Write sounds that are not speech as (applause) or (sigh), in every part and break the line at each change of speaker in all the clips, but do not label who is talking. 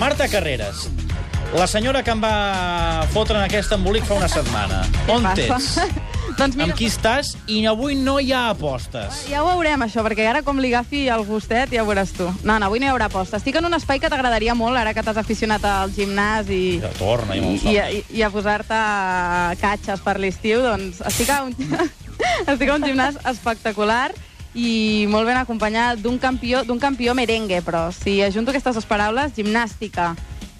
Marta Carreras, la senyora que em va fotre en aquest embolic fa una setmana. On ets?
passa? doncs (laughs) mira,
Amb qui estàs? I avui no hi ha apostes.
ja ho veurem, això, perquè ara com li agafi el gustet ja ho veuràs tu. No, no, avui no hi haurà aposta. Estic en un espai que t'agradaria molt, ara que t'has aficionat al gimnàs i...
Ja torna, i molt
I,
sol.
i, i a posar-te catxes per l'estiu, doncs estic a, un, (laughs) estic a un gimnàs espectacular i molt ben acompanyat d'un campió, d'un campió merengue, però si ajunto aquestes dues paraules, gimnàstica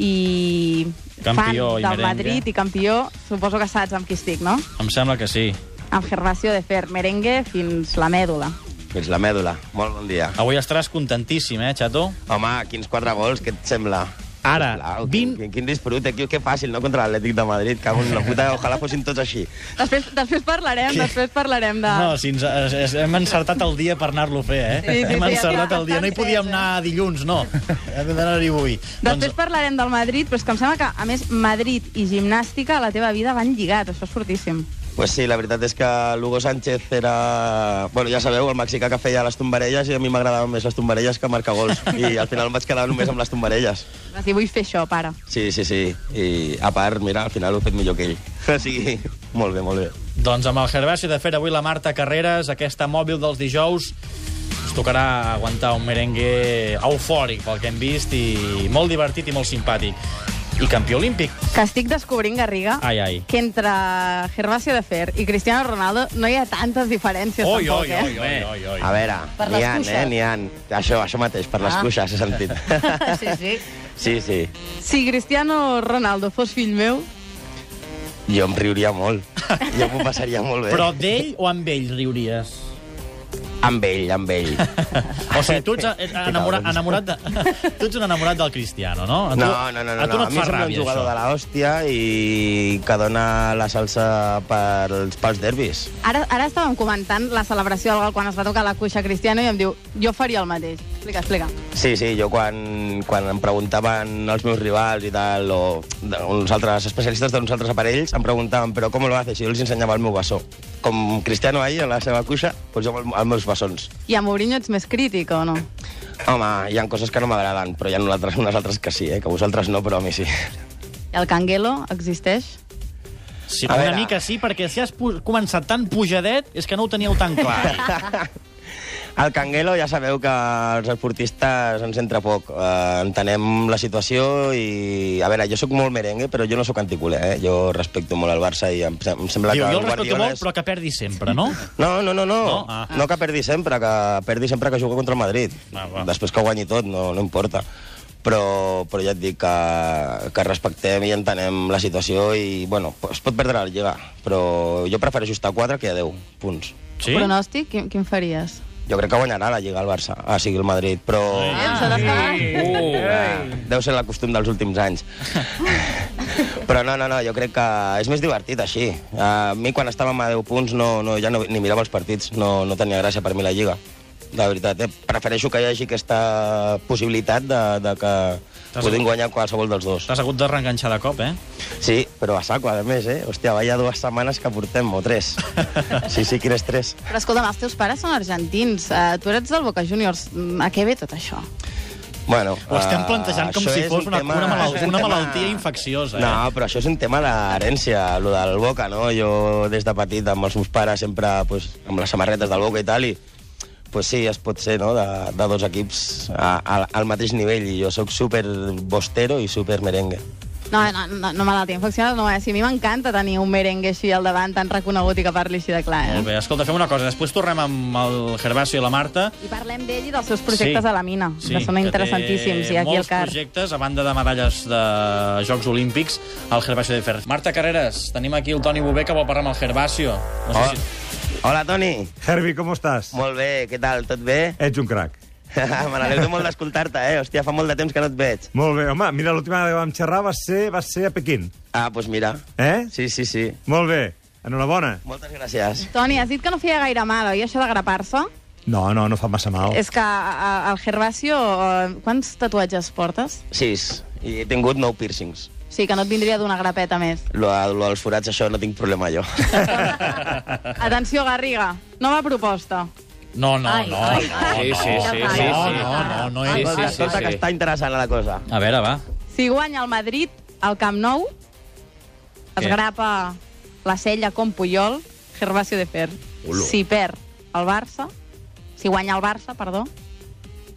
i
Campió
fan
i
del
merengue.
Madrid i campió, suposo que saps amb qui estic, no?
Em sembla que sí.
amb Gervasio de Fer, merengue fins la mèdula.
Fins la mèdula. Molt bon dia.
Avui estaràs contentíssim, eh, Xato?
Home, quins quatre gols, què et sembla?
Ara,
Sisplau,
vint-
Quin, quin disfrute, que, que fàcil, no? Contra l'Atlètic de Madrid, cago en la puta, ojalà fossin tots així.
Després, després parlarem, després parlarem de...
No, si ens, es, es, hem encertat el dia per anar-lo a fer, eh?
Sí, sí, sí,
hem
ja
encertat
està,
el dia. No hi
estan
podíem
tres, eh?
anar dilluns,
(laughs)
no. Hem d'anar-hi avui. Doncs
Després parlarem del Madrid, però és que em sembla que, a més, Madrid i gimnàstica a la teva vida van lligats, això és fortíssim.
Pues sí, la veritat és que Lugo Sánchez era... Bueno, ja sabeu, el mexicà que feia les tombarelles i a mi m'agradaven més les tombarelles que marcar gols. I al final em vaig quedar només amb les tombarelles.
Vas dir, vull fer això, pare.
Sí, sí, sí. I a part, mira, al final ho he fet millor que ell. O sigui, molt bé, molt bé.
Doncs amb el Gervasi de fer avui la Marta Carreras, aquesta mòbil dels dijous, ens tocarà aguantar un merengue eufòric pel que hem vist i molt divertit i molt simpàtic. I campió olímpic.
Que estic descobrint, Garriga,
Ai, ai.
que entre Gervasio de Fer i Cristiano Ronaldo no hi ha tantes diferències,
Oi,
tampoc,
oi,
eh?
oi, oi, oi, oi.
A veure,
Per les
n'hi ha,
cuixes.
eh? N'hi ha. Això, això mateix, per les
Ah.
cuixes, he sentit.
(laughs) sí, sí.
Sí, sí.
Si Cristiano Ronaldo fos fill meu,
Jo em riuria
(laughs)
molt. Jo m'ho passaria molt bé.
Però d'ell o amb ell riuries?
Amb ell, amb ell.
O sigui, tu ets eh, enamorat, enamorat de, (laughs) tu ets un enamorat del Cristiano, no? A tu,
No, no, no, no.
A tu no
a
et
mi
fa
sembla un
ràbia,
jugador de
això.
la hòstia i que dona la salsa pels, pels derbis.
ara, ara estàvem comentant la celebració del gol quan es va tocar la cuixa a Cristiano i em diu, jo faria el mateix. Explica, explica.
Sí, sí, jo quan, quan em preguntaven els meus rivals i tal, o de- uns altres especialistes d'uns altres aparells, em preguntaven, però com lo haces? I jo els ensenyava el meu bessó. Com Cristiano ahir, a la seva cuixa, doncs jo amb el- els meus bessons.
I a Mourinho ets més crític, o no?
Home, hi ha coses que no m'agraden, però hi ha unes altres, unes altres que sí, eh? que vosaltres no, però a mi sí.
I el Canguelo existeix?
Sí,
A
una
veure.
mica sí, perquè si has pu- començat tan pujadet és que no ho teníeu tan clar.
(laughs) El canguelo ja sabeu que els esportistes ens entra poc. Eh, entenem la situació i... A veure, jo sóc molt merengue, però jo no sóc anticuler, eh? Jo respecto molt el Barça i em, em sembla
Diu, jo
que el
el respecto
Guardiola
molt, però que perdi sempre,
(laughs)
no?
No, no, no, no.
No?
No,
Ah.
ah. no que perdi sempre, que perdi sempre que jugo contra el Madrid.
Ah, va.
Després que guanyi tot, no, no importa. Però, però ja et dic que, que respectem i entenem la situació i, bueno, es pot perdre la Lliga, però jo prefereixo estar a 4 que a 10 punts.
Sí?
Pronòstic, quin, quin faries?
Jo crec que guanyarà la Lliga el Barça, ah, sigui el Madrid, però... (laughs) Ah, Deu ser la costum dels últims anys. Però no, no, no, jo crec que és més divertit així. A mi quan estàvem a 10 punts no, no, ja no, ni mirava els partits, no, no tenia gràcia per mi la Lliga. La veritat, eh? prefereixo que hi hagi aquesta possibilitat de, de que
T'has-
podem guanyar qualsevol dels dos.
T'has hagut de reenganxar de cop, eh?
Sí, però a saco, a més, eh? Hòstia, vaya dues setmanes que portem, o
(laughs)
tres. Sí, sí, quin estrès.
Però escolta'm, els teus pares són argentins, uh, tu eres del Boca Juniors, Mm, a què ve tot això?
Bueno,
Ho estem
eh,
plantejant com
això
si
és
fos
un
una- una malal-
això (laughs) és un
una malaltia infecciosa, eh?
No, però això és un tema d'herència, lo del Boca, no? Jo des de petit amb els meus pares sempre pues, amb les samarretes del Boca i tal, i pues sí, es pot ser, no?, de, de dos equips a, a, al mateix nivell. I jo sóc super bostero i super merengue.
No, no, no, no malaltia infecciosa, no, eh? Si a mi m'encanta tenir un merengue així al davant, tan reconegut i que parli així de clar,
Molt
eh?
bé, escolta, fem una cosa. Després tornem amb el Gervasio i la Marta.
I parlem d'ell i dels seus projectes
Sí.
sí. a la mina, sí, que són
té
interessantíssims, i aquí
molts
el car.
projectes, a banda de medalles de Jocs Olímpics, el Gervasio de Fer. Marta Carreras, tenim aquí el Toni Bové, que vol parlar amb el Gervasio. No sé
Hola,
si...
Oh, Hola Toni!
Herbie, com estàs?
Molt bé, què tal? Tot bé? (laughs)
Ets un crac.
Me n'alegro molt d'escoltar-te, eh? Hòstia, fa molt de temps que no et veig.
Molt bé, home, mira, l'última vegada que vam xerrar va ser, va ser a Pequín.
Ah, doncs pues mira.
Eh?
Sí, sí, sí.
Molt bé, enhorabona.
Moltes gràcies.
Toni, has dit que no feia gaire mal, oi, això de grapar-se?
No, no, no fa massa mal.
És que a- a- el Gervasio, eh, quants tatuatges portes?
Sis. I he tingut nou piercings.
O sigui, que no et vindria d'una grapeta més.
Lo, lo dels forats, això no tinc problema jo. (laughs)
(laughs) Atenció, Garriga, nova proposta.
No, no,
Ai,
no.
ai,
no,
ai.
no,
Sí, sí, sí,
no,
sí,
no,
sí.
no, no, no,
Ai,
és...
va.
Escolta,
sí,
Ah, tota que
sí.
està interessant la cosa.
A veure, va.
Si guanya el Madrid al Camp Nou, es
Què?
grapa la sella com Puyol, Gervasio de Fer.
Olo.
Si perd el Barça, si guanya el Barça, perdó,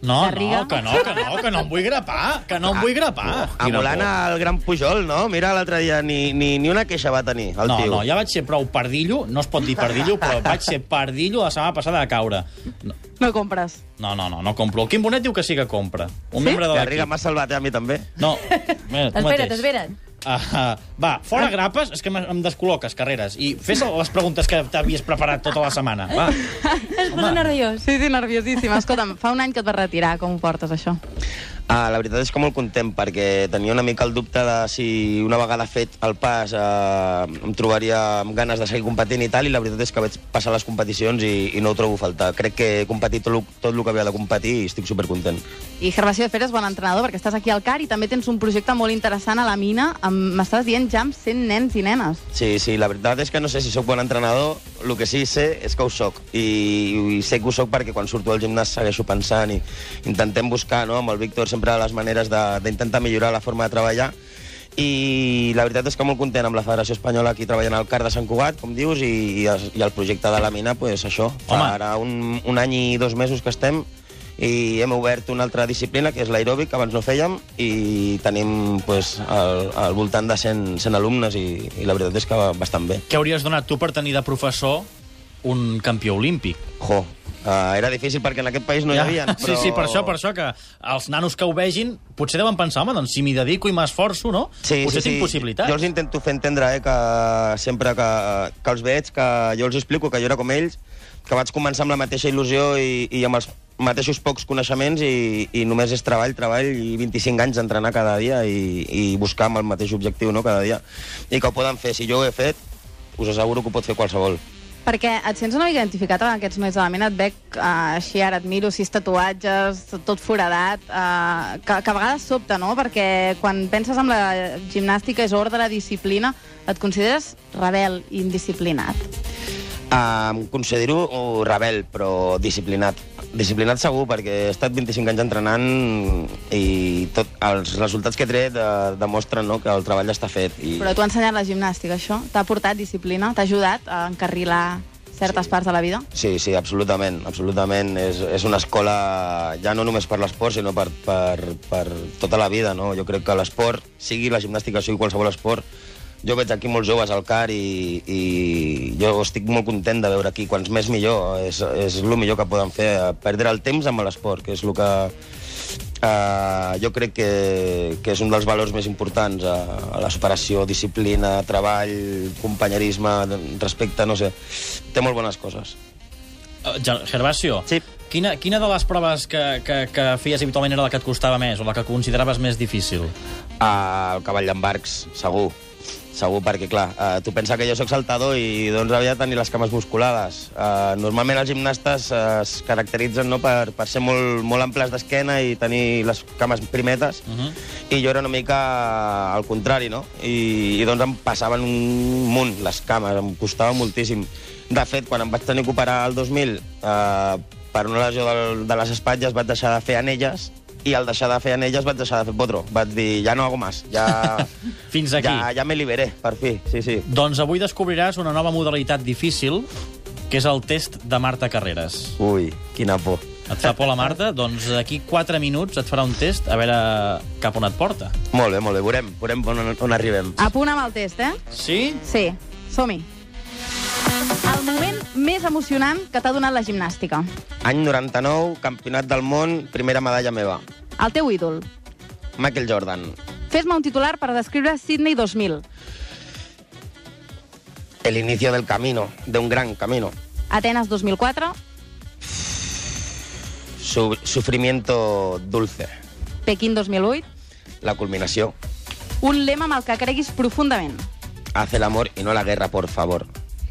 No,
Garriga.
no, que no, que no, que no em vull grapar, que no em vull grapar.
Quina
Emulant
por.
el gran Pujol, no? Mira, l'altre dia ni, ni, ni una queixa va tenir, el
No,
tio.
no, ja vaig ser prou pardillo, no es pot dir pardillo, però vaig ser pardillo la setmana passada a caure.
no compres.
No, no, no, no compro. El Quim Bonet diu que sí que compra. Un membre de
Garriga
l'equip.
m'ha salvat eh, a mi també.
No, mira, tu
Espera't,
mateix.
espera't.
Ah, ah, va, fora grapes, és que em- em descol·loques, Carreras. I fes les preguntes que t'havies preparat tota la setmana. (laughs) Va.
Es posa nerviós.
Sí, sí, nerviosíssima. Escolta'm, fa un any que et vas retirar, com ho portes, això?
Ah, la veritat és que molt content, perquè tenia una mica el dubte de si una vegada fet el pas eh, em trobaria amb ganes de seguir competint i tal, i la veritat és que vaig passar les competicions i, i no ho trobo a faltar. Crec que he competit tot, lo- tot el que havia de competir i estic supercontent.
I Gervasio de Fer és bon entrenador perquè estàs aquí al CAR i també tens un projecte molt interessant a la mina. amb- M'estaves dient ja amb 100 nens i nenes.
Sí, sí, la veritat és que no sé si sóc bon entrenador, el que sí sé és que ho sóc. I, i sé que ho sóc perquè quan surto al gimnàs segueixo pensant i intentem buscar no, amb el Víctor sempre les maneres de- d'intentar millorar la forma de treballar i la veritat és que molt content amb la Federació Espanyola aquí treballant al CAR de Sant Cugat, com dius, i, i, es- i el projecte de la mina, pues, això. Fa
Home.
ara un, un any i dos mesos que estem i hem obert una altra disciplina, que és l'aeròbic, que abans no fèiem, i tenim pues, al, al voltant de 100, 100 alumnes i, i la veritat és que va bastant bé.
Què hauries donat tu per tenir de professor un campió olímpic?
Jo, uh, era difícil perquè en aquest país no ja. hi havia.
(laughs) Sí,
Però...
sí, per això, per això, que els nanos que ho vegin potser deuen pensar, home, doncs si m'hi dedico i m'esforço, no?
Sí,
potser
sí,
tinc
sí.
possibilitats.
Jo els intento fer entendre eh, que sempre que, que els veig, que jo els explico que jo era com ells, que vaig començar amb la mateixa il·lusió i, i amb els mateixos pocs coneixements i, i només és treball, treball i 25 anys d'entrenar cada dia i, i buscar amb el mateix objectiu no, cada dia. I que ho poden fer. Si jo ho he fet, us asseguro que ho pot fer qualsevol.
Perquè et sents una mica identificat amb aquests nois de la mina, et veig eh, així, ara et miro, sis tatuatges, tot foradat, eh, que, que a vegades sobta, no? Perquè quan penses en la gimnàstica és ordre, disciplina, et consideres rebel i indisciplinat.
Ah, Em considero oh, rebel, però disciplinat. Disciplinat segur, perquè he estat 25 anys entrenant i tot, els resultats que he tret eh, demostren no, que el treball està fet. I...
Però t'ho ha ensenyat la gimnàstica, això? T'ha portat disciplina? T'ha ajudat a encarrilar certes
Sí.
parts de la vida?
Sí, sí, absolutament, absolutament. És, és una escola ja no només per l'esport, sinó per, per, per tota la vida, no? Jo crec que l'esport, sigui la gimnàstica, sigui qualsevol esport, jo veig aquí molts joves al CAR i, i jo estic molt content de veure aquí, quants més millor, és, és el millor que poden fer, eh, perdre el temps amb l'esport, que és el que eh, jo crec que, que és un dels valors més importants, a, a la superació, disciplina, treball, companyerisme, respecte, no sé, té molt bones coses.
Eh, Ger- Gervasio,
Sí.
quina, quina de les proves que, que, que feies habitualment era la que et costava més o la que consideraves més difícil?
Ah, el cavall d'embarcs, segur. Segur, perquè, clar, eh, tu pensa que jo sóc saltador i doncs havia de tenir les cames musculades. Eh, normalment els gimnastes eh, es caracteritzen no, per, per ser molt, molt amples d'esquena i tenir les cames primetes, uh -huh. i jo era una mica eh, al contrari, no? I, i doncs em passaven un munt les cames, em costava moltíssim. De fet, quan em vaig tenir que operar el 2000, eh, per una lesió del, de les espatlles vaig deixar de fer anelles, i al deixar de fer anelles vaig deixar de fer potro. Vaig dir, ja no hago más, ja...
Fins aquí.
Ja, ja me liberé, per fi, sí, sí.
Doncs avui descobriràs una nova modalitat difícil, que és el test de Marta Carreras.
Ui, quina por.
Et fa por la Marta? Doncs d'aquí 4 minuts et farà un test a veure cap on et porta.
Molt bé, molt bé, veurem, veurem on, on arribem.
A punt amb el test, eh?
Sí?
Sí, som-hi. El moment més emocionant que t'ha donat la gimnàstica.
Any 99, campionat del món, primera medalla meva.
El teu ídol.
Michael Jordan.
Fes-me un titular per descriure Sydney 2000.
El inicio del camino, de un gran camino.
Atenes 2004,
Su sufrimiento dulce.
Pequín 2008,
La culminació.
un lema amb el que creguis profundament.
Haz el amor y no la guerra, por favor.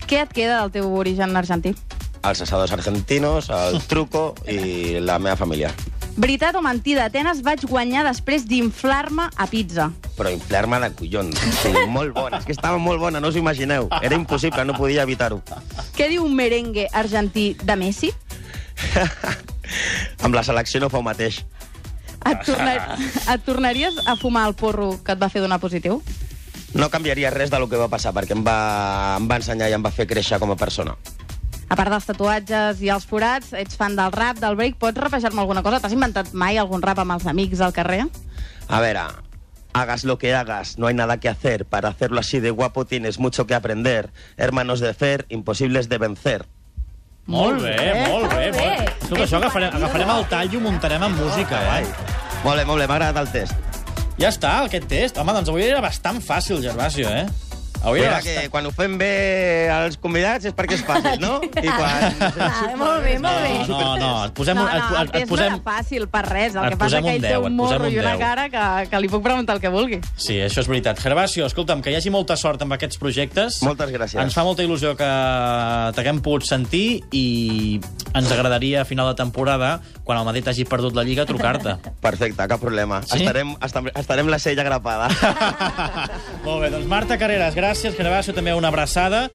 Què et queda del teu origen argentí?
Els asados argentinos, el truco i la meva família.
Veritat o mentida, Atenes vaig guanyar després d'inflar-me a pizza.
Però inflar-me de collons. Sí, molt bona. És que estava molt bona, no us imagineu. Era impossible, no podia evitar-ho.
Què diu un merengue argentí de Messi?
Amb la selecció no fa el mateix.
Et,
(laughs)
tornar, et tornaries a fumar el porro que et va fer donar positiu?
No canviaria res del que va passar, perquè em va, em va ensenyar i em va fer créixer com a persona.
A part dels tatuatges i els forats, ets fan del rap, del break, pots rapejar-me alguna cosa? T'has inventat mai algun rap amb els amics al carrer?
A ver, a- hagas lo que hagas, no hay nada que hacer. Para hacerlo así de guapo tienes mucho que aprender. Hermanos de Fer, imposibles de vencer.
Molt bé,
Eh?
molt bé. Molt bé. Escolta, això agafarem, agafarem el tall i ho muntarem amb música, eh?
Molt bé, molt bé, m'ha agradat el test.
Ja està, aquest test. Home, doncs avui era bastant fàcil, Gervasio, eh? Avui era
Mira
bastant...
que quan ho fem bé als convidats és perquè és fàcil,
(laughs)
no? I quan... (laughs)
Ah, molt bé, molt bé.
No, no, no, et posem...
no,
un- et,
no,
et,
el
et
test no
posem...
era fàcil per res. El
et
que passa
posem
que
un
ell
10,
té
et
un
posem
morro
un
i una
10.
cara que, que li puc preguntar el que vulgui.
Sí, això és veritat. Gervasio, escolta'm, que hi hagi molta sort amb aquests projectes.
Moltes gràcies.
Ens fa molta il·lusió que t'haguem pogut sentir i ens agradaria a final de temporada, quan el Madrid hagi perdut la Lliga,
(laughs)
trucar-te.
Perfecte, cap problema.
Sí?
Estarem, estam- estarem la sella grapada.
Molt bé, doncs Marta Carreras, gràcies. Gervasio, també una abraçada.